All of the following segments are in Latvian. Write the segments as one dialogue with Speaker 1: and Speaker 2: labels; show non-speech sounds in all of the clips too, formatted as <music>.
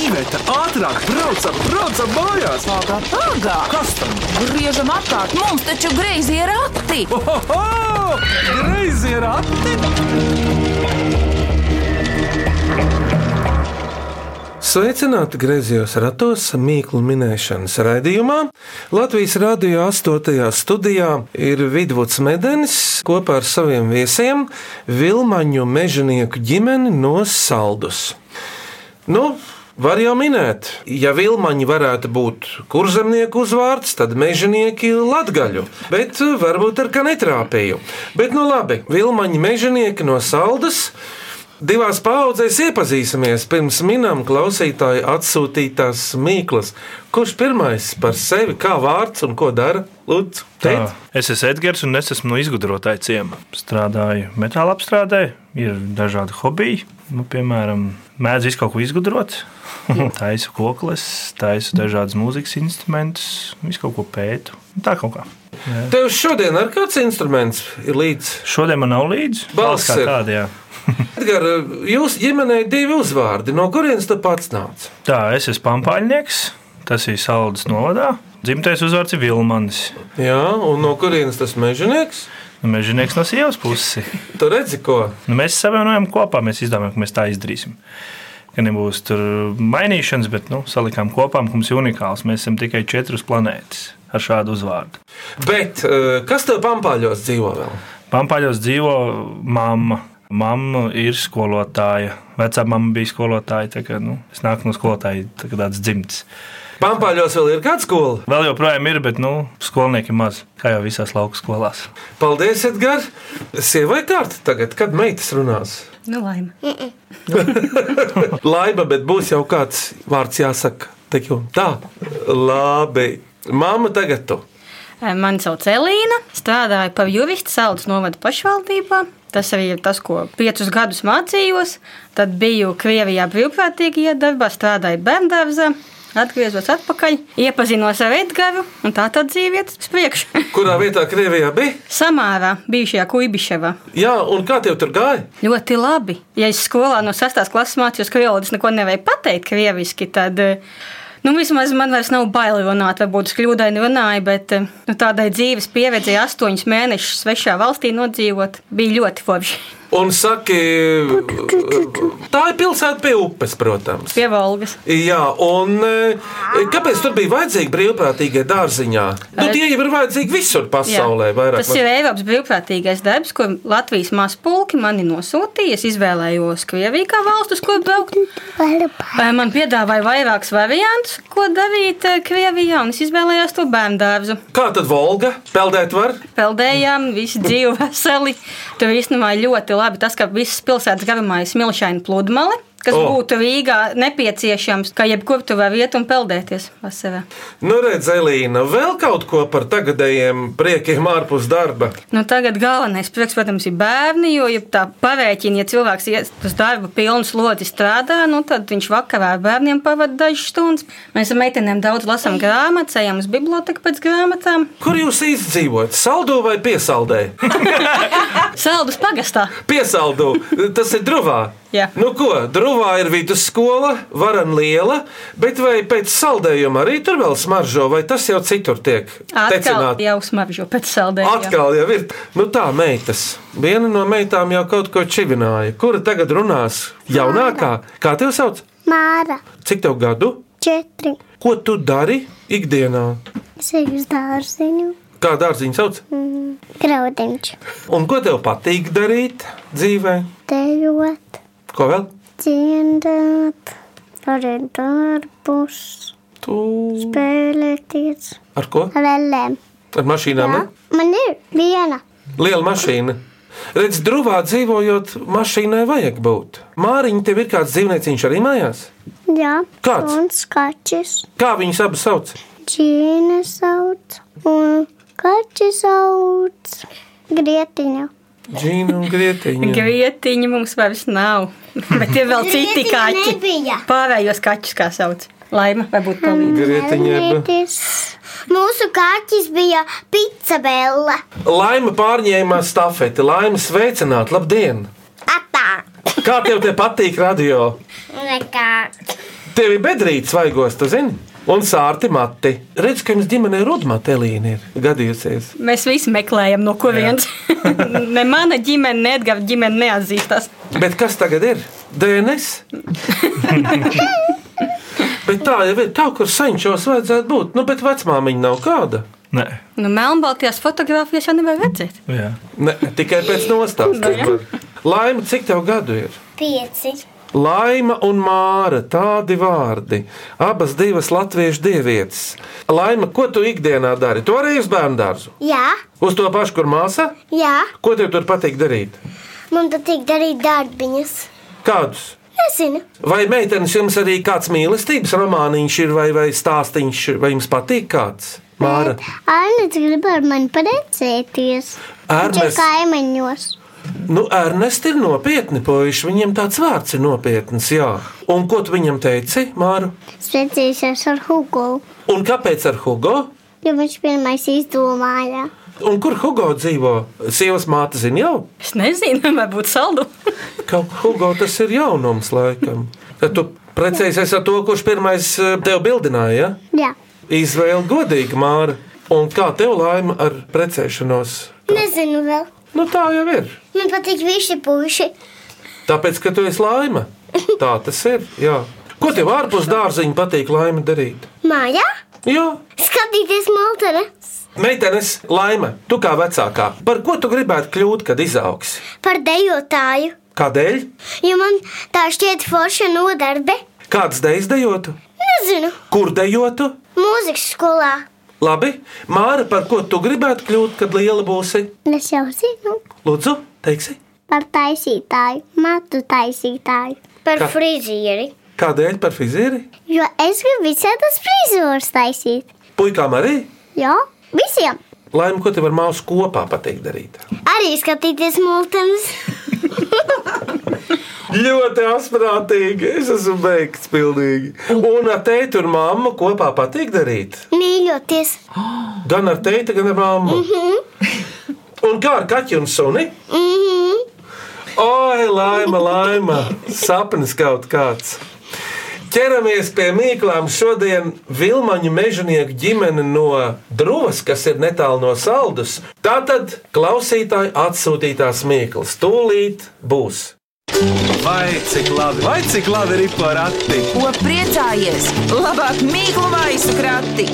Speaker 1: Iveta, ātrāk, braucam, braucam mājās!
Speaker 2: Ātrāk, ātrāk!
Speaker 1: Kas tam?
Speaker 2: Griežam apkārt! Mums taču greizi ir rati!
Speaker 1: Oho! Greizi ir ati!
Speaker 3: Sveicināti griezījos ratos mīklu minēšanas raidījumā. Latvijas radio 8. studijā ir Vidvuds Medenis kopā ar saviem viesiem Vilmaņu mežonieku ģimeni no Saldus. Nu, Var jau minēt, ja vilmaņi varētu būt kurzemnieku uzvārds, tad mežonieki latgaļu, bet eh, varbūt ar kā netrāpīju. Bet nu labi, vilmaņi mežonieki no Saldas. Divās paudzēs iepazīsimies, pirms minam klausītāju atsūtītās mīklas. Kurš pirmais par sevi, kā vārds un ko dara? Lūdzu, teikt,
Speaker 4: Ah. Es esmu Edgars, un es esmu no izgudrotāja ciemata. Strādāju metāla apstrādē, ir dažādi hobiji. Nu, piemēram, mēdz visu kaut ko izgudrot. taisu kokles, taisu dažādas mūzikas instrumentus, visu kaut ko pētu. Tā kaut kā.
Speaker 3: tev šodien ar kāds instruments ir līdz?
Speaker 4: Šodien man nav līdzi.
Speaker 3: Balss
Speaker 4: kā
Speaker 3: ir.
Speaker 4: tāda. Jā.
Speaker 3: Edgar, jūs ģimenei divi uzvārdi, no kurienes tu pats nāc?
Speaker 4: Tā, es esmu pampaļnieks, tas ir Saldus novadā. Dzimtais uzvārds ir Vilmans.
Speaker 3: Jā, un no kurienes tas mežonieks?
Speaker 4: Nu, Mežonieks no sievas puses.
Speaker 3: Tu redzi, ko?
Speaker 4: Nu, mēs savienojam kopā, mēs izdomājam, ka mēs tā izdarīsim. Ka nebūs tur mainīšanas, bet nu, salikām kopā, ka mums ir unikāls. Mēs esam tikai četras planētas ar šādu uzvārdu.
Speaker 3: Bet eh, kas tev pampāļos dzīvo vēl?
Speaker 4: Pampaļos dzīvo mamma. Mamma ir skolotāja. Vecā mamma bija skolotāja. Tā Kā, nu, es nāku no skolotāja, tā kā tāds dzimts.
Speaker 3: Pampāļos vēl ir kāda skola?
Speaker 4: Vēl joprojām ir, bet nu, skolnieki maz, kā jau visās lauku skolās.
Speaker 3: Paldies, Edgar! Sievai kārta tagad, kad meitas runās.
Speaker 5: Nu, laime.
Speaker 3: Laiba, bet būs jau kāds vārds jāsaka. Tik jau tā. Labi. Māma tagad tu.
Speaker 5: Mani sauc Elīna. Strādāju par juristu Saldus novada pašvaldībā. Tas arī ir tas, ko piecus gadus mācījos. Tad biju Krievijā brīvprātīgajā darbā, strādāju bērngārzā. Atgriezos atpakaļ, iepazinos ar Edgars, un tā tad dzīve iet uz priekšu. <laughs>
Speaker 3: Kurā vietā Krievijā bija?
Speaker 5: Samārā, bijušajā Kuibiševā.
Speaker 3: Jā, un kā tev tur gāja?
Speaker 5: Ļoti labi. Ja es skolā no 6. klases mācījos krieviski, es neko nevarēju pateikt krieviski, tad eh, nu, vismaz man vairs nav bail runāt, varbūt es kļūdaini runāju, bet eh, nu, tādai dzīves pieredzei astoņus mēnešus svešā valstī nodzīvot bija ļoti forši. <laughs>
Speaker 3: Un saki, tā ir pilsēta pie upes, protams.
Speaker 5: Pie Volgas.
Speaker 3: Jā, un eh, kāpēc tur bija vajadzīgi brīvprātīgie dārziņā? Nu, tie jau ir vajadzīgi visur
Speaker 5: Jā.
Speaker 3: pasaulē. Vairāk,
Speaker 5: Tas ir Eiropas brīvprātīgais darbs, ko Latvijas mākslinieki mani nosūtīja. Es izvēlējos Krieviju kā valsts, uz kuru braukt. Eh, Man piedāvāja vairākus variantus, ko darīt eh, Krievijā, un es izvēlējos to bērnu dārzu.
Speaker 3: Kā tad Volga peldēt var?
Speaker 5: peldējām, visi dzīvo veseli. Tur īstenībā ļoti labi tas, ka visas pilsētas garumā ir smilšaina pludmale. Kas
Speaker 3: O.
Speaker 5: oh. būtu Rīgā nepieciešams, ka jebkurā tur var iet un peldēties vasarā.
Speaker 3: Nu, redz, Elīna, vēl kaut ko par tagadējiem priekiem ārpus darba.
Speaker 5: Nu, tagad galvenais prieks, protams, ir bērni, jo ja tā pavērķina, ja cilvēks iet uz darbu pilnu slodzi strādā, nu, tad viņš vakarā ar bērniem pavadīja dažas stundas. Mēs ar meitenēm daudz lasām grāmatas, ejam uz biblioteku pēc grāmatām.
Speaker 3: Kur jūs izdzīvojat? Saldū vai piesaldē?
Speaker 5: <laughs> Saldus pagastā!
Speaker 3: Piesaldū, tas ir druvā.
Speaker 5: Jā.
Speaker 3: Nu, ko, druvā ir vidusskola, varan liela, bet vai pēc saldējuma arī tur vēl smaržo, vai tas jau citur tiek
Speaker 5: Atkal
Speaker 3: tecināts?
Speaker 5: jau smaržo pēc saldējuma.
Speaker 3: Atkal jau ir. Nu tā, meitas. Viena no meitām jau kaut ko čivināja. Kura tagad runās? Jaunākā. Kā tev sauc?
Speaker 6: Māra,
Speaker 3: Cik tev gadu?
Speaker 6: četri.
Speaker 3: Ko tu dari ikdienā?
Speaker 6: Es eju uz dārziņu, mm,
Speaker 3: Kā dārziņš sauc?
Speaker 6: graudījums,
Speaker 3: Un ko tev patīk darīt dzīvē?
Speaker 6: dejot,
Speaker 3: Ko vēl?
Speaker 6: dziedāt, arī darbus,
Speaker 3: Tu
Speaker 6: spēlēties
Speaker 3: ar ko?
Speaker 6: ar lēlēm.
Speaker 3: Ar mašīnām? ne?
Speaker 6: Man ir viena.
Speaker 3: Liela mašīna. Redz, drūmā dzīvojot, mašīnai vajag būt. Māriņa, tev ir kāds dzīvnieciņš arī mājās?
Speaker 6: Jā,
Speaker 3: Kāds?
Speaker 6: un skačis.
Speaker 3: Kā viņas abas sauc?
Speaker 6: Čīna sauc, un kaķis sauc grietiņu.
Speaker 3: Džina un Grietiņa.
Speaker 5: Grietiņa mums vairs nav. <laughs> Bet ir vēl citi kaķi. Pārējos kaķus kā sauc. Laima, varbūt palīdz.
Speaker 3: Grietiņa. ba-
Speaker 6: Grietiņš. Mūsu kaķis bija picabella.
Speaker 3: Laima pārņēma stafeti. Laima sveicināt, labdien!
Speaker 6: Atā!
Speaker 3: Kā tev te patīk radio?
Speaker 6: Nekā.
Speaker 3: Tev ir bedrītis svaigos, tu zini? Un sārti mati. Redz, ka jums ģimenē rudmatelīna ir gadījusies.
Speaker 5: Mēs visi meklējam, no kurienes. <laughs> ne mana ģimene, ne Edgars ģimene neatzīstās.
Speaker 3: Bet kas tagad ir? DNS? bet tā jau ir, tā kur saņķos vajadzētu būt. Nu, bet vecmāmiņa nav kāda.
Speaker 4: Nē,
Speaker 5: Nu, Melnbaltijās fotografijas jau nevar redzēt.
Speaker 4: jā.
Speaker 3: Ne, tikai pēc nostājas. Laima, cik tev gadu ir?
Speaker 6: Pieci.
Speaker 3: Laima un Māra, tādi vārdi. Abas divas latviešu dievietes. Laima, ko tu ikdienā dari? Tu arī uz bērnu dārzu.
Speaker 6: Jā,
Speaker 3: Uz to pašu, kur māsa?
Speaker 6: jā.
Speaker 3: Ko tev tur patīk darīt?
Speaker 6: Man patīk darīt darbiņas.
Speaker 3: Kādus?
Speaker 6: Nezinu.
Speaker 3: Vai meitenes jums arī kāds mīlestības romāniņš ir, vai, vai stāstīņš, vai jums patīk kāds? Māra,
Speaker 6: Arnēs grib ar mani parecēties. Viņš ir
Speaker 3: Ernest,
Speaker 6: kaimiņos.
Speaker 3: nu, Ernest ir nopietni puiši, viņam tāds vārds ir nopietns, jā. Un ko tu viņam teici, Māra?
Speaker 6: Svecīsies ar Hugo,
Speaker 3: Un kāpēc ar Hugo?
Speaker 6: jo viņš pirmais izdomāja.
Speaker 3: Un kur Hugo dzīvo? Sievas māte zina jau?
Speaker 5: Es nezinu, <laughs> varbūt saldu.
Speaker 3: Kaut kā Hugo tas ir jaunums laikam. Tad tu precējies ar to, kurš pirmais eh, tev bildināja, ja?
Speaker 6: Jā.
Speaker 3: Izvēle godīga, Māra. Un kā tev laima ar precēšanos?
Speaker 6: Nezinu vēl.
Speaker 3: Nu, tā jau ir.
Speaker 6: Man patīk visi puši.
Speaker 3: Tāpēc, ka tu esi laima. Tā tas ir. Jā. Ko tev ārpus dārziņa patīk laima darīt?
Speaker 6: Mājā?
Speaker 3: Jā,
Speaker 6: Skatīties maltere
Speaker 3: meitenes, laima, tu kā vecākā. Par ko tu gribētu kļūt, kad izaugs?
Speaker 6: par dejotāju.
Speaker 3: Kādēļ?
Speaker 6: Jo man tā šķiet forša nodarbe.
Speaker 3: Kādas dejas dejotu?
Speaker 6: Nezinu.
Speaker 3: Kur dejotu?
Speaker 6: Mūzikas skolā.
Speaker 3: Labi, Māra, par ko tu gribētu kļūt, kad liela būsi?
Speaker 6: Es jau zinu.
Speaker 3: Lūdzu, teiksi,
Speaker 6: Par taisītāju, matu taisītāju. Par
Speaker 3: Kā?
Speaker 6: frizieri.
Speaker 3: kādēļ par fizieri?
Speaker 6: Jo es gribu visādas frizūras taisīt.
Speaker 3: Puikām arī?
Speaker 6: Jo visiem.
Speaker 3: Laima, ko tev ar māsu kopā patīk darīt?
Speaker 6: Arī skatīties mūzikas.
Speaker 3: Ļoti asprātīgi. Es esmu beigts pilnīgi. Un ar tēti un māmu kopā patīk darīt.
Speaker 6: Mīļoties.
Speaker 3: Gan ar tēti, gan ar māmu. Un kā ar kaķu un suni? Oi, laima, laima. Sapnis kaut kāds. Ķeramies pie mīklām. Šodien Vilmaņu mežonieku ģimene no Drūmas, kas ir netālu no saldus. Tātad klausītāji atsūtītās mīklas tūlīt būs.
Speaker 1: Vai cik labi, vai cik labi ir porakti?
Speaker 2: Ko priecājies? Labāk mīklu maisu krati.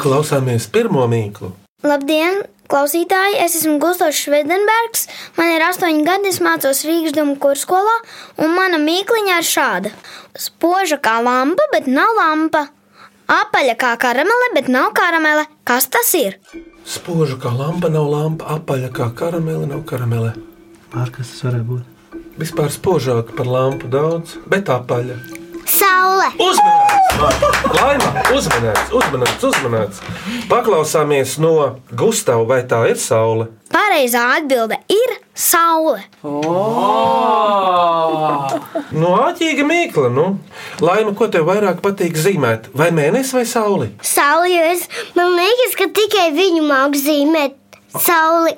Speaker 3: Klausāmies pirmo mīklu.
Speaker 6: Labdien, klausītāji! Es esmu Gustavs Švedenbergs. Man ir astoņi gadi, es mācos Rīgas domu kursskolā, un mana mīkliņa ir šāda. Spoža kā lampa, bet nav lampa. Apaļa kā karamele, bet nav karamele. Kas tas ir?
Speaker 3: Spoža kā lampa, nav lampa, apaļa kā karamele, nav karamele.
Speaker 4: Ar kas tas varētu būt?
Speaker 3: Vispār spožāka par lampu daudz, bet apaļa.
Speaker 6: Saule!
Speaker 3: Uzmanīts! Laima! Uzmanīts, uzmanīts, uzmanīts! Paklausāmies no Gustavas, vai tā ir saule?
Speaker 6: Pareizā atbilde ir saule.
Speaker 3: No āķīga mīkla, nu. Laima, ko tev vairāk patīk zīmēt? Vai mēnesi vai sauli?
Speaker 6: Saule, jo es man liekas, ka tikai viņu māku zīmēt sauli.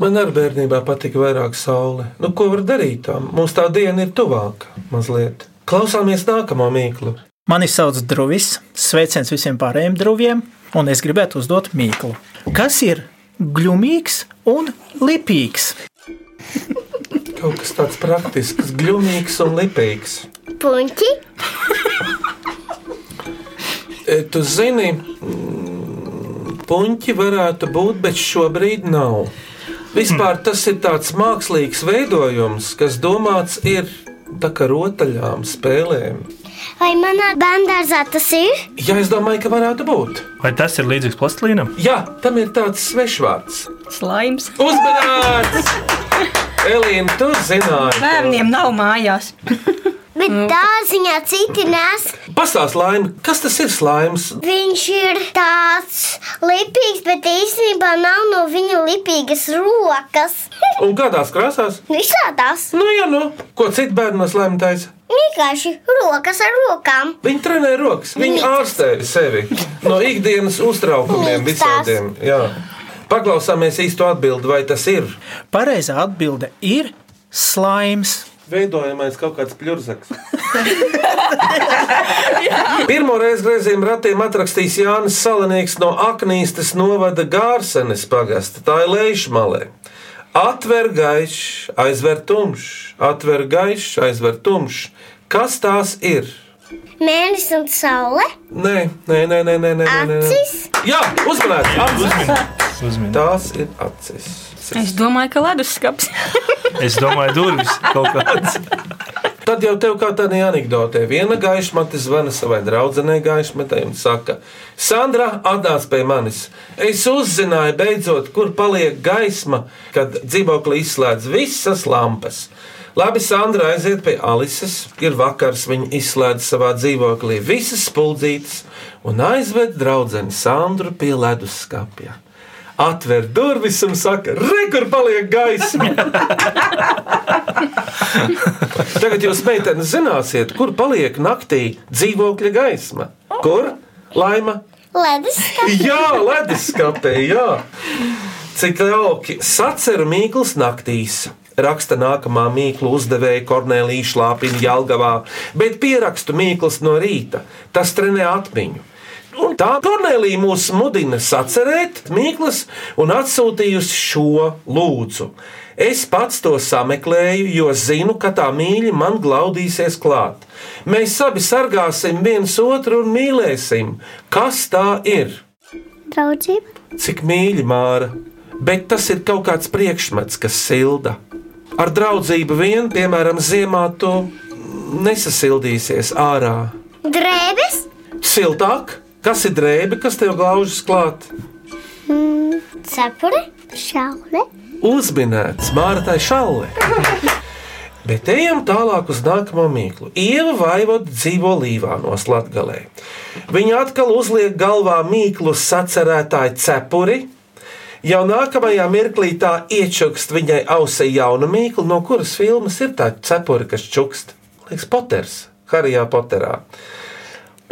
Speaker 3: Man ar bērnībā patika vairāk saule. Nu, ko var darīt tam? Mums tā diena ir tuvāka mazliet. Klausāmies nākamo mīklu.
Speaker 7: Mani sauc Druvis, sveiciens visiem pārējiem druviem, un es gribētu uzdot mīklu. Kas ir glumīgs un lipīgs?
Speaker 3: Kaut kas tāds praktisks, glumīgs un lipīgs.
Speaker 6: Puņķi,
Speaker 3: E, Tu zini, mm, puņķi varētu būt, bet šobrīd nav. Vispār tas ir tāds mākslīgs veidojums, kas domāts ir tā kā rotaļām, spēlēm.
Speaker 6: vai manā bērngārzā tas ir?
Speaker 3: Jā, es domāju, ka varētu būt.
Speaker 4: Vai tas ir līdzīgs plastelīnam?
Speaker 3: Jā, tam ir tāds svešvārds.
Speaker 5: Slaims.
Speaker 3: Uzmanīts! Elīna, tu zināji,
Speaker 5: Bērniem nav mājās.
Speaker 6: Bet
Speaker 3: Mm.
Speaker 6: tā ziņā citi nes.
Speaker 3: pastāsti laimi, kas tas ir slaims?
Speaker 6: Viņš ir tāds lipīgs, bet īstenībā nav no viņa lipīgas rokas. <laughs>
Speaker 3: Un kādās krāsās?
Speaker 6: Visādās
Speaker 3: Nu, jā, nu, ko citu bērnu no slēmta taisa?
Speaker 6: vienkārši rokas ar rokām.
Speaker 3: Viņi trenē rokas, viņi ārstē sevi no ikdienas uztraukumiem
Speaker 6: Mīkstās.
Speaker 3: visādiem. Jā. Paklausāmies īsto atbildi, vai tas ir.
Speaker 7: Pareizā atbilde ir slaims.
Speaker 3: Veidojamais kaut kāds pļurzaks. Pirmo reizi grozījuma ratiem atrakstīs Jānis Salanīks no Aknīstas novada Gārsenes pagasta, tā ir Leišmalē. Atver gaišs, aizver tumšs, atver gaišs, aizver tumšs. Kas tās ir?
Speaker 6: Mēnesis un saule,
Speaker 3: Nē, nē, nē, nē, nē, nē, nē. nē.
Speaker 6: acis,
Speaker 3: Jā, uzmanīgs! Acis!
Speaker 4: Uzmini.
Speaker 3: Tās ir acis.
Speaker 5: Es domāju, ka leduskaps.
Speaker 4: Es domāju, durvis kaut kāds.
Speaker 3: Tad jau tev kā tādā anekdotē, viena gaišmate zvana savai draudzenei gaišmatei un saka, Sandra, atnāc pie manis. Es uzzināju beidzot, kur paliek gaisma, kad dzīvoklī izslēdz visas lampas. Labi, Sandra aiziet pie Alises. Ir vakars, viņa izslēdz savā dzīvoklī visas spuldzītes un aizved draudzeni Sandru pie leduskapja. Atver durvis un saka, re, kur paliek gaisma! Tagad jūs, meitenes, zināsiet, kur paliek naktī dzīvokļa gaisma. Kur? Laima.
Speaker 6: ledus,
Speaker 3: Jā, leduskapē, jā. Cik jauki. Saceru mīklas naktīs. Raksta nākamā mīklu uzdevēja Kornelija Šlāpina Jālgavā, bet pierakstu mīklas no rīta. Tas trenē atmiņu. Un tā Kornelija mūs mudina sacerēt mīklas un atsūtījusi šo lūdzu. Es pats to sameklēju, jo zinu, ka tā mīļa man glaudīsies klāt. Mēs abi sargāsim viens otru un mīlēsim. Kas tā ir?
Speaker 6: draudzība,
Speaker 3: Cik mīļi māra, bet tas ir kaut kāds priekšmets, kas silda. Ar draudzību vien, piemēram, ziemā tu nesasildīsies ārā.
Speaker 6: drēbes,
Speaker 3: Siltāk, kas ir drēbe, kas tev glaužas klāt?
Speaker 6: cepure, šaule,
Speaker 3: Uzminēts, mārtai šalle. Bet ejam tālāk uz nākamo mīklu. Ieva vaivot dzīvo Līvānos Latgalē. Viņa atkal uzliek galvā mīklu sacerētāju cepuri. Jau nākamajā mirklī tā iečukst viņai ausī jaunu mīklu, no kuras filmas ir tā cepura, kas čukst. Liekas, Poters, Harijā Poterā.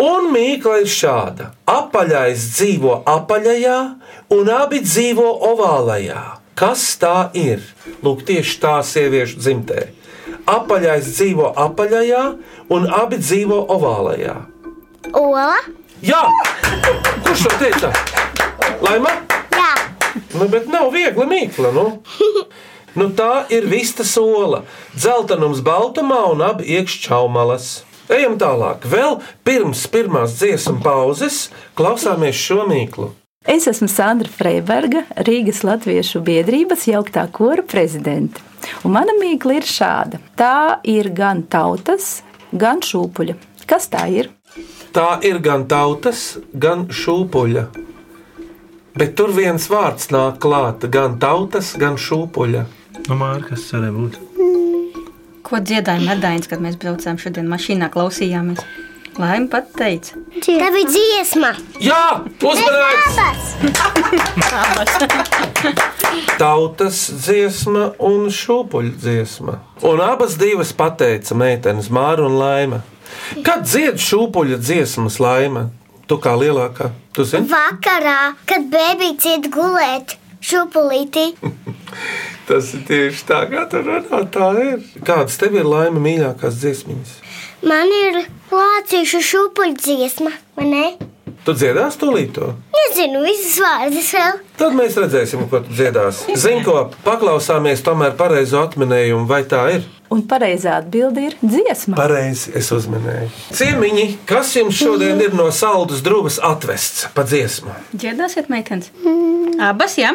Speaker 3: Un mīkla ir šāda: apaļais dzīvo apaļajā, un abi dzīvo ovālajā. Kas tā ir? Lūk, tieši tā sieviešu dzimtē. Apaļais dzīvo apaļajā, un abi dzīvo ovālajā.
Speaker 6: ola,
Speaker 3: Jā, kurš to teica? Laima?
Speaker 6: jā,
Speaker 3: Nu, bet nav viegli mīkla. Nu. Nu, tā ir vista sola. Zeltenums baltumā un abi iekšķaumalas. Ejam tālāk. Vēl pirms pirmās dziesmu pauzes klausāmies šo mīklu.
Speaker 8: Es esmu Sandra Freiberga, Rīgas Latviešu biedrības jauktā kora prezidente. Un mana mīkla ir šāda. Tā ir gan tautas, gan šūpuļa. Kas tā ir?
Speaker 3: Tā ir gan tautas, gan šūpuļa. Bet tur viens vārds nāk klāt, gan tautas, gan šūpuļa.
Speaker 4: Nu, Mārķis, kas tas varēja būt?
Speaker 5: <laughs> Ko dziedāja Medāņas, kad mēs braucām šodien mašīnā, klausījāmies? Laima pat teica,
Speaker 6: tā bija dziesma,
Speaker 3: Jā, uzmanīgs!
Speaker 6: abas,
Speaker 3: tautas dziesma un šūpuļu dziesma. Un abas divas pateica meitenes, Māra un Laima. Kad dzied šūpuļa dziesmas, Laima, tu kā lielākā, tu zini,
Speaker 6: vakarā, kad bēbīts iet gulēt, šupulīti,
Speaker 3: tas ir tieši tā, kā tur runā, tā ir. Kādas tev ir laima mīļākās dziesmiņas?
Speaker 6: man ir lācīšu šupuļu dziesma, vai ne?
Speaker 3: Tu dziedās to līto?
Speaker 6: Nezinu visas vārdas vēl,
Speaker 3: Tad mēs redzēsim, ko tu dziedāsi. Zini, ko paklausāmies, tomēr pareizo atminējumu, vai tā ir?
Speaker 8: Un pareizā atbilde ir dziesma.
Speaker 3: Pareizi, es uzmanēju. Ciemiņi, kas jums šodien ir no saldus drūmas atvests pa dziesmu?
Speaker 5: dziedāsiet, meitenes? Abas, jā.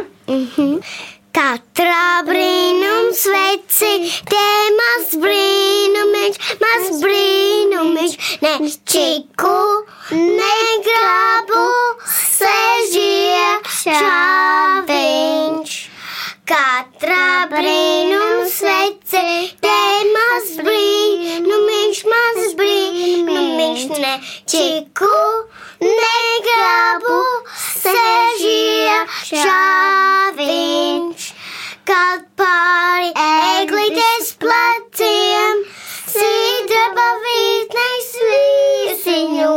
Speaker 6: katrā brīnums veci, te maz brīnumiņš, maz brīnumiņš, ne čiku, ne grabu, sežie šāviņš. Katrā brīnums veci, te maz brīnumiņš, maz brīnumiņš, ne čiku, ne grabu, sežie šāviņš. Kad pāri eglītes pleciem, sīda pavītnais vīsiņo,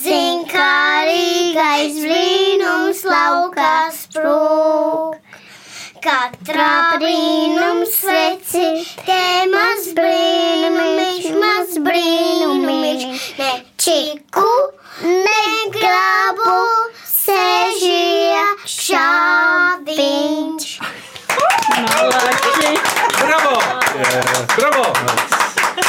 Speaker 6: zinkārīgais brīnums laukā sprūk. Katrā Katrā brīnums sveci, te maz brīnumiņš, maz brīnumiņš. Ne čiku, ne grabu, sežie šāviņš.
Speaker 3: Bravo! Bravo!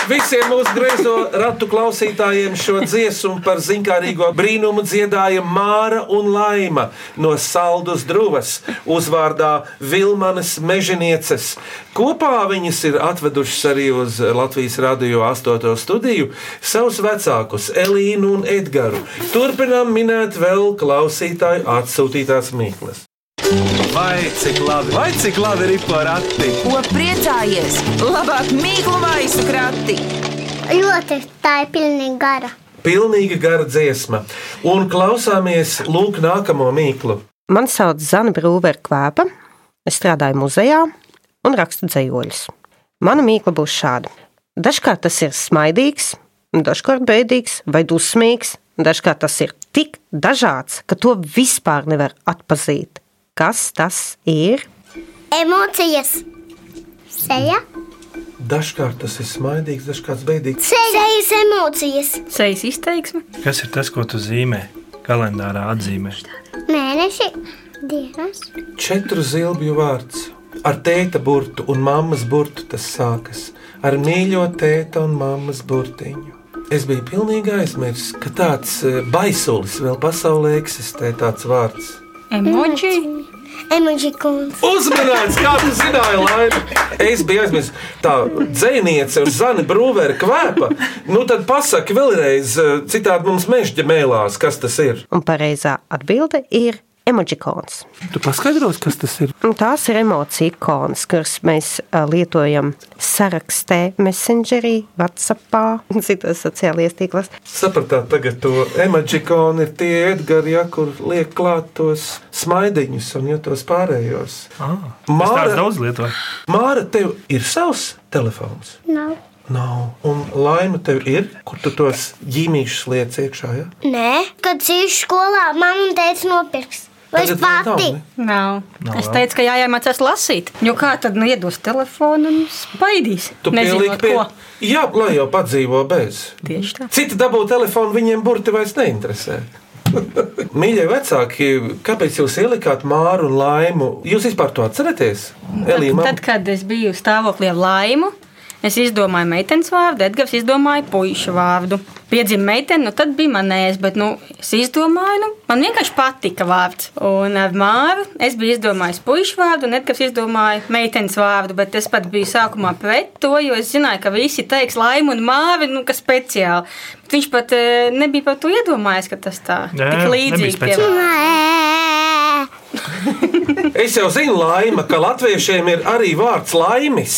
Speaker 3: Visiem mūsu griezo ratu klausītājiem šo dziesmu par zinkārīgo brīnumu dziedāja Māra un Laima no Saldus Druvas, uzvārdā Vilmanas Mežinieces. Kopā viņas ir atvedušas arī uz Latvijas radio 8. studiju savus vecākus Elīnu un Edgaru. Turpinām minēt vēl klausītāju atsūtītās mīklas.
Speaker 1: Vai cik labi, vai cik labi ir porati?
Speaker 2: Ko priecājies? Labāk mīklu maisu krati!
Speaker 6: Ļoti tā ir pilnīgi gara.
Speaker 3: Pilnīgi gara dziesma. Un klausāmies lūk nākamo mīklu.
Speaker 9: Mani sauc Zana Brūvera Kvēpa. Es strādāju muzejā un rakstu dzējoļus. Mana mīkla būs šāda. Dažkārt tas ir smaidīgs, dažkārt bēdīgs vai dusmīgs. Dažkārt tas ir tik dažāds, ka to vispār nevar atpazīt. Kas tas ir?
Speaker 6: Emocijas, seja,
Speaker 3: Dažkārt tas ir smaidīgs, dažkārt bēdīgs.
Speaker 6: sejas emocijas,
Speaker 5: Sejas izteiksme,
Speaker 4: Kas ir tas, ko tu zīmē? Kalendārā atzīmē.
Speaker 6: mēneši, dienas.
Speaker 3: Četru zilbju vārds. Ar tēta burtu un mammas burtu tas sākas. Ar mīļo tēta un mammas burtiņu. Es biju pilnīgi aizmirsis, ka tāds eh, baisulis vēl pasaulē eksistē, tāds vārds.
Speaker 5: emocija,
Speaker 6: Emoģikums.
Speaker 3: Uzmanīgs, kā tu zināji, Laina. Es biju aizmirsis, tā dziniece un zani brūvēra kvēpa. Nu, tad pasaki vēlreiz, eh, citādi mums mežģi mēlās, kas tas ir.
Speaker 9: Un pareizā atbilde ir emoģikons.
Speaker 3: Tu paskaidros, kas tas ir.
Speaker 9: Un Tās ir emociju ikonas, kuras mēs ā, lietojam sarakstē, messengerī, WhatsAppā un citos sociālajos tīklos.
Speaker 3: Sapratāt, tagad to emoģikonu ir tie Edgars, ja, kur liek klāt tos smaidiņus un jūtos pārējos.
Speaker 4: Ah,
Speaker 3: Māra-
Speaker 4: Māra... Daudz lietoju.
Speaker 3: Māra, tev ir savs telefons.
Speaker 6: Nav.
Speaker 3: Nav. Un laima tev ir, kur tu tos ģīmīšus liec iekšā. Ja?
Speaker 6: Nē, kad dzīvoju skolā, mamma teica, nopirks. Vai es
Speaker 3: Tagad vēl nav,
Speaker 6: pati?
Speaker 3: ne?
Speaker 5: nav.
Speaker 4: Nav
Speaker 5: Es
Speaker 4: vēl.
Speaker 5: teicu, ka jāiemācās lasīt. Jo kā tad nu iedos telefonu un spaidīs?
Speaker 3: Tu
Speaker 5: Nezinot,
Speaker 3: pieliec pie
Speaker 5: ko.
Speaker 3: Jā, lai jau padzīvo bez.
Speaker 5: Tieši tā.
Speaker 3: Citi dabū telefonu, viņiem burti vairs neinteresē. <laughs> Mīļie vecāki, kāpēc jūs ielikāt māru un laimu? Jūs vispār to atceraties? Elīna,
Speaker 5: Tad, kad es biju stāvoklī ar laimu, es izdomāju meitenes vārdu, Edgars izdomāja puikas vārdu. Piedzima meitene, nu tad bija manējais, bet nu, es izdomāju, nu, man vienkārši patika vārds. Un ar māru es biju izdomājis puikas vārdu, un Edgars izdomāja meitenes vārdu, bet es pat biju sākumā pret to, jo es zināju, ka visi teiks laimu un māri, nu, ka speciāli. Bet viņš pat e, nebija par to iedomājies, ka tas tā
Speaker 4: Jā,
Speaker 5: tik
Speaker 4: jā, nebija
Speaker 5: līdzīgi
Speaker 4: speciāli.
Speaker 5: tie-
Speaker 6: Nē.
Speaker 3: es jau zinu, laima, ka latviešiem ir arī vārds laimis.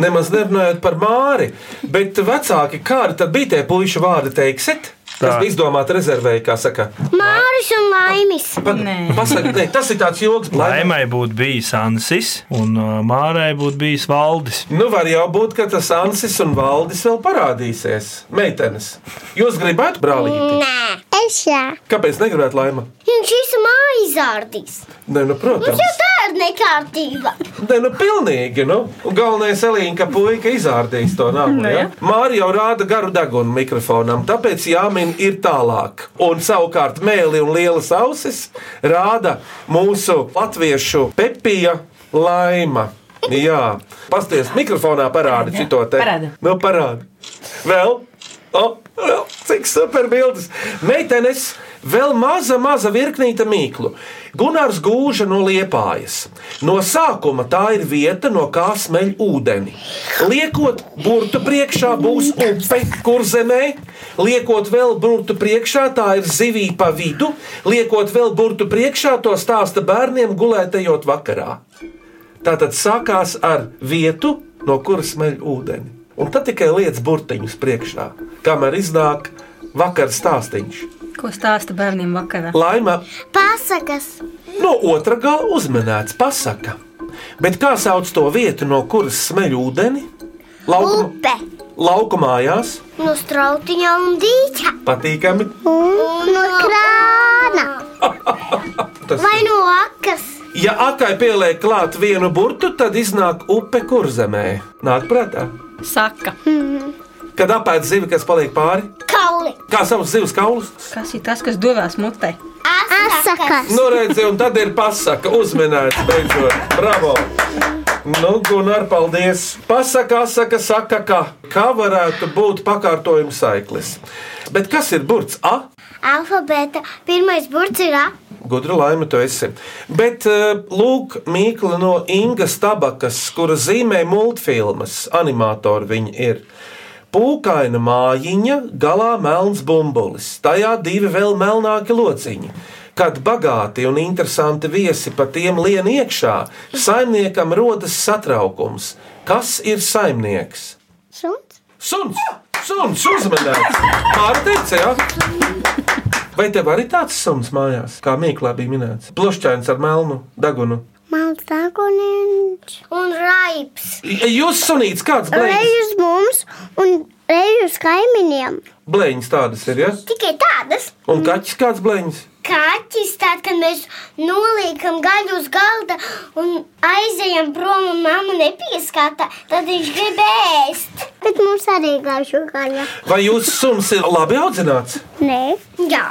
Speaker 3: Nemaz nerunājot par māri. Bet, vecāki, kādi tad bija tie puikas vārdi, teiksiet? Tas
Speaker 4: Tā.
Speaker 3: bija izdomāts rezervējai, kā saka.
Speaker 6: Māris un Laimis.
Speaker 5: Nē.
Speaker 3: Pasakiet, tas ir tāds joks, laimīgs.
Speaker 4: Laimai būtu bijis Ansis, un ā, Mārai būtu bijis Valdis.
Speaker 3: Nu, var jau būt, ka tas Ansis un Valdis vēl parādīsies. Meitenes, jūs gribat brālīti?
Speaker 6: Nē, es jā.
Speaker 3: Kāpēc negribētu laima?
Speaker 6: Viņš visu māju izārdīs.
Speaker 3: Nē, nu, protams.
Speaker 6: Mums jau tā ir nekārtība.
Speaker 3: Nē, nu, pilnīgi. Nu. Un Galvenais Elīna, ka puika izārdīs to naudu. Ja? Mārija jau rāda garu degunu mikrofonam, tāpēc jāmin ir tālāk. Un savukārt mēli un lielas ausis rāda mūsu latviešu pepija laima. Jā, pasties mikrofonā parādi šito te.
Speaker 10: Parāda.
Speaker 3: Nu, parādi. Vēl. O, vēl. Cik superbildes. Meitenes, vēl maza, maza virknīta mīklu. Gunārs gūža no liepājas. No sākuma tā ir vieta, no kā smeļ ūdeni. Liekot burtu priekšā būs upe, kur zemē. Liekot vēl burtu priekšā, tā ir zivī pa vidu. Liekot vēl burtu priekšā, to stāsta bērniem gulētajot vakarā. Tā tad sākās ar vietu, no kuras meļ ūdeni. Un tad tikai lietas burtiņus priekšā, kamēr iznāk vakar stāstīņš.
Speaker 5: Ko stāsta bērniem vakarā?
Speaker 3: Laima
Speaker 6: Pasakas,
Speaker 3: no otra gala uzmanēts pasaka. Bet kā sauc to vietu, no kuras smeļ ūdeni?
Speaker 6: upe,
Speaker 3: lauka mājās
Speaker 6: no strautiņa un dīķa.
Speaker 3: patīkami.
Speaker 6: Un no krāna
Speaker 3: <laughs> Tas
Speaker 6: vai no akas.
Speaker 3: Ja akai pieliek klāt vienu burtu, tad iznāk upe kurzemē. Nāk prātā,
Speaker 5: Saka,
Speaker 3: kad apēd zivi, kas paliek pāri,
Speaker 6: Kauli.
Speaker 3: kā savus zivs kaulus.
Speaker 5: kas ir tas, kas devās mutē?
Speaker 6: Asakas.
Speaker 3: Nu, redzi, un tad ir pasaka, uzmanīts, beidzot. Bravo! Nu, Gunār, paldies! Pasaka, saka, saka, ka kā varētu būt pakārtojuma saiklis. Bet kas ir burts A?
Speaker 6: Alfabēta pirmais burts ir A.
Speaker 3: Gudra laime, tu esi. Bet eh, lūk, Mīkla no Ingas Tabakas, kura zīmē multfilmas, animatori viņa ir. Pūkaina mājiņa, galā melns bumbulis, tajā divi vēl melnāki lociņi. Kad bagāti un interesanti viesi pa tiem lien iekšā, saimniekam rodas satraukums. Kas ir saimnieks?
Speaker 6: Suns.
Speaker 3: Suns! Suns uzmanīgs! Pārteicis, jā! Vai tev arī tāds suns mājās, kā Mīklā bija minēts? Plošķēns ar melnu dagunu.
Speaker 6: Mans dārgoniņš. Un raips.
Speaker 3: J- E, Jūs sunīts, kāds blēņas?
Speaker 6: Reizes mums un reizes kaimiņiem.
Speaker 3: Blēņas tādas ir, ja?
Speaker 6: Tikai tādas.
Speaker 3: Un kaķis kāds blēņas?
Speaker 6: Kaķis tad, kad mēs noliekam gaļu uz galda un aizejam prom un mamma nepieskata, tad viņš grib ēst. Bet mums arī gaišu gaļa.
Speaker 3: Vai jūsu suns ir labi audzināts?
Speaker 6: Nē. Jā.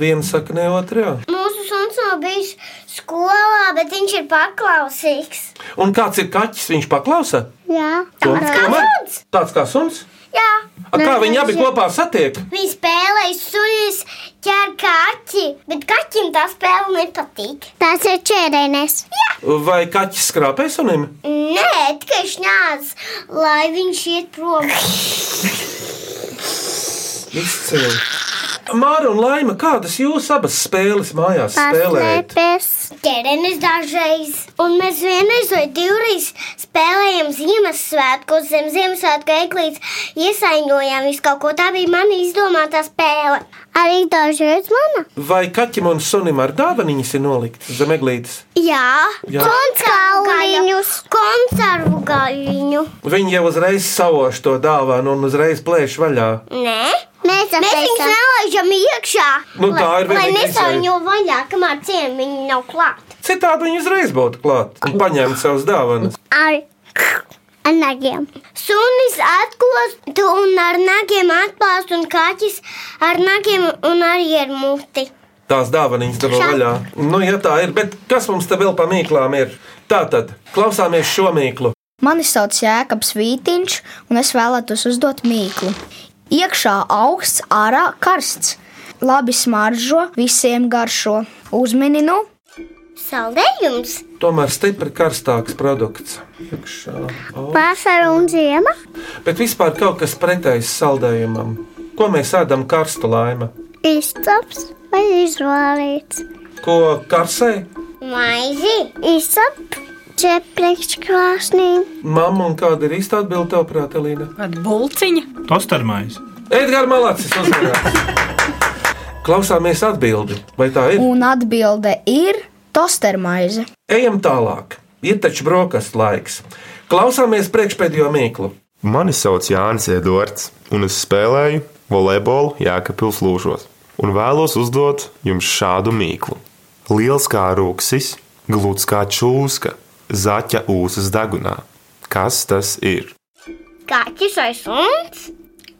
Speaker 3: Viena saka, ne otrā.
Speaker 6: Mūsu suns nav bijis skolā, bet viņš ir paklausīgs.
Speaker 3: Un kāds ir kaķis? Viņš paklausa?
Speaker 6: Jā.
Speaker 3: Tom- tomēr? Tāds kā suns?
Speaker 6: Jā.
Speaker 3: A, kā viņi abi kopā satiek?
Speaker 6: Viņi spēlēja sunis, ķēra kaķi, bet kaķim tā spēle nepatīk. Tas ir ķērēnes. Jā.
Speaker 3: Vai kaķis skrāpē sunim?
Speaker 6: Nē, tikai šņācis, lai viņš iet prom.
Speaker 3: Izcili. Māra un Laima, kādas jūs abas spēles mājās spēlējat?
Speaker 6: Ķērenis dažreiz. Un mēs vienreiz vai divreiz spēlējām Ziemassvētkos, zem Ziemassvētku eglītes, iesaņojām visu kaut ko. Tā bija mana izdomāta spēle. Arī dažreiz mana.
Speaker 3: Vai kaķim un sunim ar dāvaniņas ir nolikts zem eglītes?
Speaker 6: Jā,
Speaker 3: Jā.
Speaker 6: koncertus, koncertu gaļu.
Speaker 3: Viņi jau uzreiz savoš to dāvanu un uzreiz plēš vaļā.
Speaker 6: Nē, mēs, mēs viņus nelaižam iekšā.
Speaker 3: Nu, tā ir
Speaker 6: Lai
Speaker 3: vienīgais
Speaker 6: nesauņo vaļā, kamēr ciemiņi nav klāt.
Speaker 3: Citādi viņi uzreiz būtu klāt un paņēma savus dāvanas.
Speaker 6: Ar Ar nagiem. Sunis atklāst un ar nagiem atklāst, un kaķis ar nagiem un arī ar muti.
Speaker 3: Tās dāvanas dabū vaļā. Nu, ja tā ir, bet kas mums te vēl pa mīklām ir? Tātad, klausāmies šo mīklu.
Speaker 10: Mani sauc Jēkabs Vītiņš, un es vēlētos uzdot mīklu. Iekšā augsts, ārā karsts. Labi smaržo, visiem garšo. Uzmini, nu,
Speaker 6: Saldējums,
Speaker 3: Tomēr stipri karstāks produkts. Iekšā. au.
Speaker 6: Oh. vasara un ziema,
Speaker 3: Bet vispār kaut kas pretējs saldējumam. Ko mēs ēdam karstu laima?
Speaker 6: izcaps vai izvēlēts.
Speaker 3: Ko karsē?
Speaker 6: Maizi, izcaps, čepriekškrāsnī.
Speaker 3: Mamma un kāda ir īsta atbilde tev, prāt, Elīna?
Speaker 5: Kāda bulciņa?
Speaker 4: Tostarmais.
Speaker 3: Edgars Malacis uzmanīgs. Klausāmies atbildi, vai tā ir?
Speaker 10: un atbilde ir tostermaize.
Speaker 3: Ejam tālāk. Ir taču brokastu laiks. Klausāmies priekšpēdējo mīklu.
Speaker 11: Mani sauc Jānis Edvards, un es spēlēju volejbolu Jēkabūras lūžos. Un vēlos uzdot jums šādu mīklu. Liels kā rūksis, gluds kā čūska, zaķa ūsas degunā. Kas tas ir?
Speaker 6: Kaķis vai suns?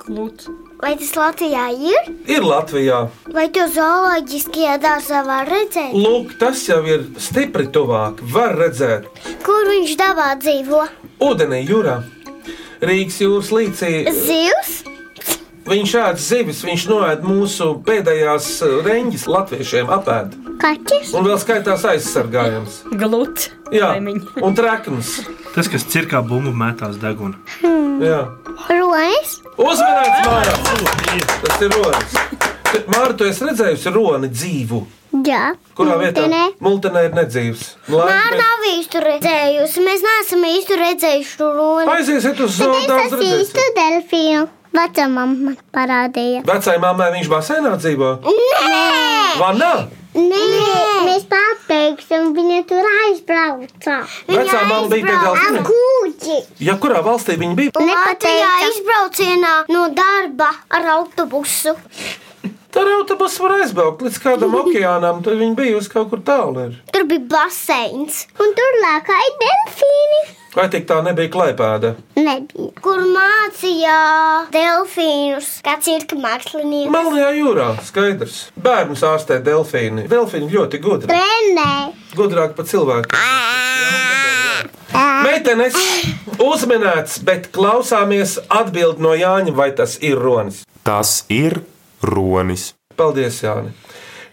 Speaker 5: Klūts.
Speaker 6: Vai tas Latvijā ir?
Speaker 3: Ir Latvijā.
Speaker 6: Vai to zooloģiskajā dārzā var redzēt?
Speaker 3: Lūk, tas jau ir stipri tuvāk. Var redzēt,
Speaker 6: Kur viņš dabā dzīvo?
Speaker 3: ūdenī jūrā. Rīgas jūras līcī
Speaker 6: Zivs,
Speaker 3: viņš ēd zivis, viņš noēd mūsu pēdējās eh, reņģis, latviešiem apēd.
Speaker 6: kaķis,
Speaker 3: Un vēl skaitās aizsargājams.
Speaker 5: Glūts.
Speaker 3: Jā,
Speaker 5: Kaimiņi.
Speaker 3: un trakns.
Speaker 4: Tas, kas cirkā bumbu metās deguna.
Speaker 3: Jā.
Speaker 6: ronis,
Speaker 3: Uzmanīts, Mārcis! Tas ir ronis. Mārcis, tu esi redzējusi roni dzīvu.
Speaker 6: jā,
Speaker 3: Kurā vietā? Multinē ir nedzīvs. Nu,
Speaker 6: Māra
Speaker 3: Laipni.
Speaker 6: nav īsti redzējusi. Mēs neesam īsti redzējuši roni.
Speaker 3: Aiziesiet uz zoodārzu redzēsim.
Speaker 6: delfīnu. Vecamā man parādīja.
Speaker 3: Vecai mammai viņš basēnā dzīvo.
Speaker 6: Nē,
Speaker 3: Vanā!
Speaker 6: nē, mēs pateiksim, viņa tur aizbrauca.
Speaker 3: Vecā mamma bija pie galvenā.
Speaker 6: Kūģi!
Speaker 3: Ja kurā valstī viņi bija?
Speaker 6: Latvijā izbraucienā no darba ar autobusu.
Speaker 3: Tur autobuss var aizbraukt līdz kādam okeānam, tad viņi bija uz kaut kur tālu. ir.
Speaker 6: Tur bija baseins, un tur lēkāja delfīni.
Speaker 3: Vai tik tā nebija klaipēda?
Speaker 6: Nebija. Kur mācīja delfīnus, kāds ir mākslinieks?
Speaker 3: Melnajā jūrā, skaidrs. Bērnus ārstē delfīni. Delfīni ļoti gudri.
Speaker 6: Trenē.
Speaker 3: Gudrāk par cilvēku. Meitenes uzminēts, bet klausāmies atbild no Jāņa, vai tas ir Ronis.
Speaker 11: Tas ir Ronis.
Speaker 3: Paldies, Jāni.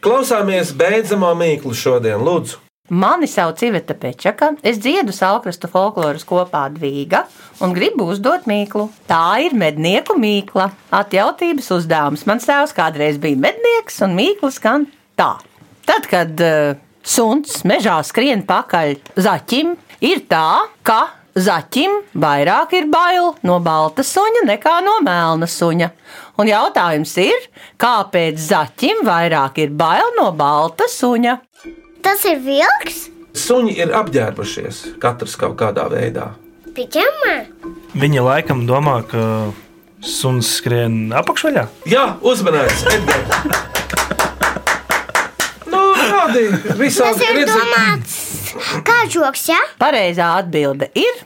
Speaker 3: Klausāmies beidzamā mīklu šodien, lūdzu.
Speaker 12: Mani sauc Iveta Pečaka, es dziedu salkrastu folkloras kopā Dvīga un gribu uzdot mīklu. Tā ir mednieku mīkla. Atjautības uzdevums. Mans tēvs kādreiz bija mednieks, un mīkla skan tā. Tad, kad uh, suns mežā skrien pakaļ zaķim, ir tā, ka zaķim vairāk ir bail no balta suņa nekā no melna suņa. Un jautājums ir, kāpēc zaķim vairāk ir bail no balta suņa?
Speaker 6: Tas ir vilks,
Speaker 3: Suņi ir apģērbušies, katrs kaut kādā veidā.
Speaker 6: piģamā.
Speaker 4: Viņa laikam domā, ka suns skrien apakšvaļā.
Speaker 3: Jā, uzmanīgs! Nu, kādi
Speaker 6: Tas ir domāts kā joks, ja?
Speaker 12: Pareizā atbilde ir.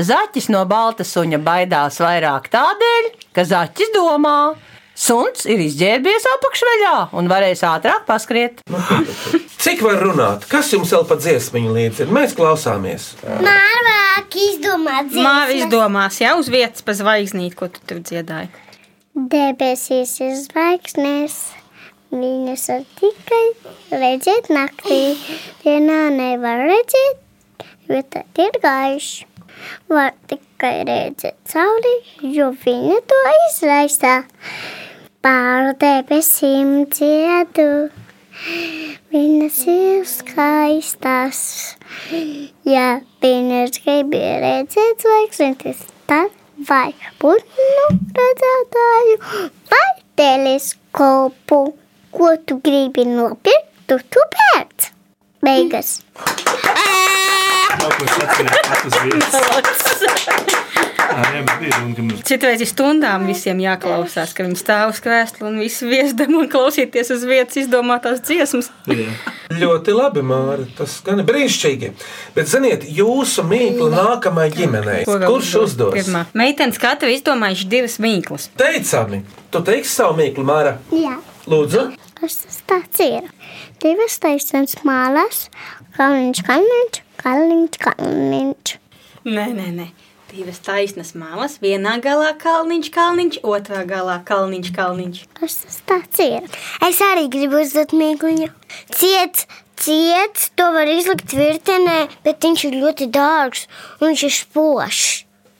Speaker 12: Zaķis no balta suņa baidās vairāk tādēļ, ka zaķis domā, suns ir izģērbies apakšveļā un varēs ātrāk paskriet.
Speaker 3: Cik var runāt? Kas jums vēl pa dziesmiņu līdzi ir? Mēs klausāmies.
Speaker 6: Mārvāk izdomā
Speaker 5: Māri izdomās, jau uz vietas pa zvaigznīti, ko tu tur dziedāji.
Speaker 6: Debesīs ir zvaigznes, viņas var tikai redzēt naktī. Dienā nevar redzēt, jo tad ir gaiši. Var tikai redzēt cauri, jo viņa to izraisa. Pār debesīm dziedu, viņas ir skaistas. Ja viņas gribēja redzēt zvaigznes, tad vai putnu redzētāju, vai teleskopu. Ko tu gribi nopirkt, tu tu pēc. Beigas.
Speaker 5: Citreiz ir stundām visiem jāklausās, ka viņi stāv uz krēsla un visu viesdamu un klausīties uz vietas izdomātās dziesmas.
Speaker 3: Ļoti labi, Māra. Tas gan ir brīnišķīgi. Bet, ziniet, jūsu mīklu nākamajai ģimenei.
Speaker 5: Ko vēl
Speaker 3: Kurš uzdos?
Speaker 5: Pirmā. Meitenes katra izdomājuši divas mīklas.
Speaker 3: Teicami, tu teiksi savu mīklu, Māra.
Speaker 6: Jā,
Speaker 3: Lūdzu,
Speaker 6: kas tas tāds ir? Divas taisnes mālas, kalniņš, kalniņš, kalniņš, kalniņš.
Speaker 5: Nē, nē, nē. Divas taisnas malas, vienā galā kalniņš, kalniņš, otrā galā kalniņš, kalniņš.
Speaker 6: Kas tas tāds ir? Es arī gribu uzdot mīkluņu. Ciet, ciet, to var izlikt virtenē, bet viņš ir ļoti dārgs un viņš ir spožs.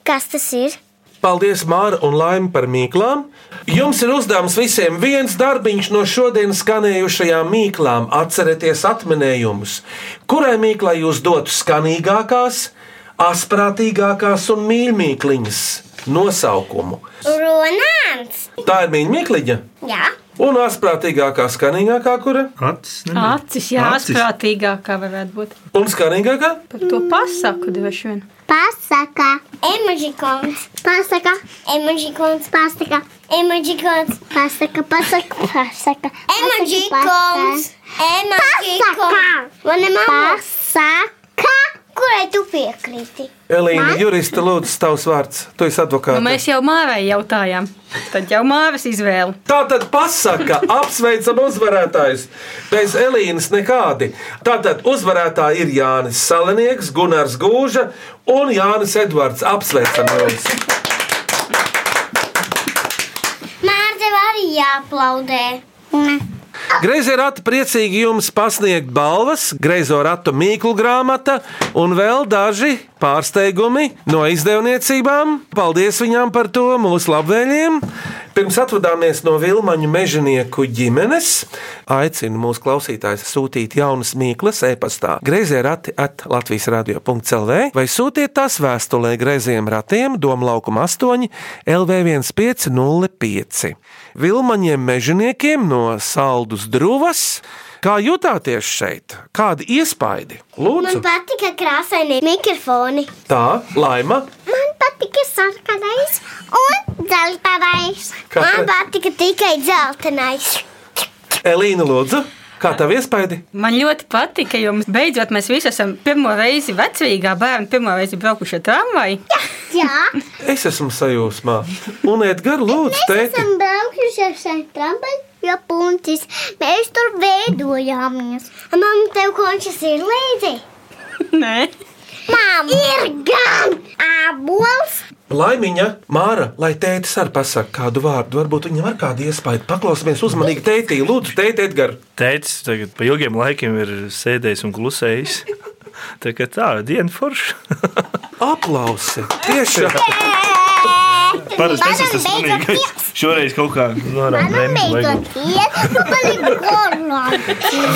Speaker 6: Kas tas ir?
Speaker 3: paldies, Māra un Laima par mīklām. Jums ir uzdevums visiem viens darbiņš no šodienas skanējušajām mīklām. Atcerieties atminējumus, kurai mīklai jūs dotu skanīgākās, asprātīgākās un mīļākās nosaukumu.
Speaker 6: Ronāns!
Speaker 3: Tā ir mīļākā.
Speaker 6: Jā,
Speaker 3: Un asprātīgākā, skanīgākā, kura?
Speaker 4: Acis,
Speaker 5: Acis, jā, prātīgākā varētu būt.
Speaker 3: Un skanīgākā?
Speaker 5: Par to pasaku droši vien.
Speaker 6: pasaka, emožikons, pasaka, emožikons, pasaka, emožikons, pasaka, pasaka, pasaka,
Speaker 13: Emožikons, emožikons.
Speaker 6: man ir pasaka, kurai tu piekrīti.
Speaker 3: Elīna, jurista, lūdzu, tavs vārds. Tu esi advokāts.
Speaker 5: Nu, mēs jau mārai jautājām. Tad jau māras izvēle.
Speaker 3: Tā tad pasaka, apsveicam uzvarētājus. Bez Elīnas nekādi. Tātad uzvarētāji ir Jānis Salinieks, Gunārs Gūža un Jānis Edvards. Apsveicam jūs!
Speaker 6: Mārķi arī jāaplaudē.
Speaker 3: Greizē rati priecīgi jums pasniegt balvas, greizo ratu mīklu grāmata un vēl daži pārsteigumi no izdevniecībām. Paldies viņām par to, mūsu labvēlējiem! Pirms atvadāmies no Vilmaņu mežonieku ģimenes, aicinu mūsu klausītājus sūtīt jaunas mīklas e-pastā greizē rati at Latvijas radio.cl vai sūtiet tās vēstulē greizējiem ratiem Doma laukuma 8 LV1505. Vilmaņiem mežoniekiem no Saldus Druvas. Kā jutāties šeit? Kādi iespaidi?
Speaker 6: Man
Speaker 3: Lūdzu,
Speaker 6: patika krāsainie mikrofoni.
Speaker 3: tā, laima.
Speaker 6: Man patika sarkanais un dzeltenais.
Speaker 3: Kāpēc?
Speaker 6: Man patika tikai dzeltenais.
Speaker 3: Elīna, lūdzu, kā tev iespaidi?
Speaker 5: Man ļoti patika, jo mums beidzot mēs visi esam pirmo reizi vecrīgā bērnu, pirmo reizi braukuši ar tramvaju. <laughs>
Speaker 4: <laughs>
Speaker 6: Jā,
Speaker 3: Es esmu sajūsmā. Un Edgars, lūdzu,
Speaker 6: mēs
Speaker 3: teikt,
Speaker 6: esam braukuši ar Sanktrambu. Jo puncis, mēs tur veidojāmies. Man tev končas ir līdzi.
Speaker 5: Nē.
Speaker 6: Māma ir gan abols.
Speaker 3: Laimiņa, Māra, lai tētis arī pasakā kādu vārdu, varbūt viņam ar kādu iespēju paklausīties uzmanīgi tētī. Lūdzu, tēti, Edgars,
Speaker 4: Teicis, tagad pa ilgiem laikiem ir sēdējis un klusējis. <laughs> Tā kā tā, diena forša.
Speaker 3: aplausi! Tieši!
Speaker 4: Parasti es esmu tas <laughs> vienīgais. Šoreiz kaut kā norādīja.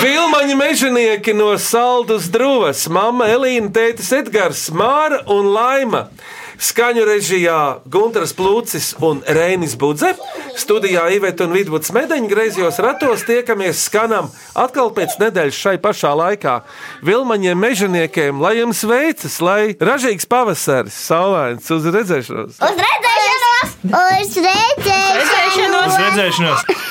Speaker 3: Vilmaņa mežonieki no Saldus Drūvas, Mama Elīna, Tētis Edgars, Māra un Laima. Skaņu režijā Gunteris Plūcis un Reinis Budze. Studijā Iveta un Vidvuds Medeņa griezījos ratos tiekamies skanam atkal pēc nedēļas šai pašā laikā. Vilmaņiem mežoniekiem, lai jums veicas, lai ražīgs pavasaris, saulains uz redzēšanos!
Speaker 6: Uz redzēšanos! Uz redzēšanos!
Speaker 4: Uz redzēšanos!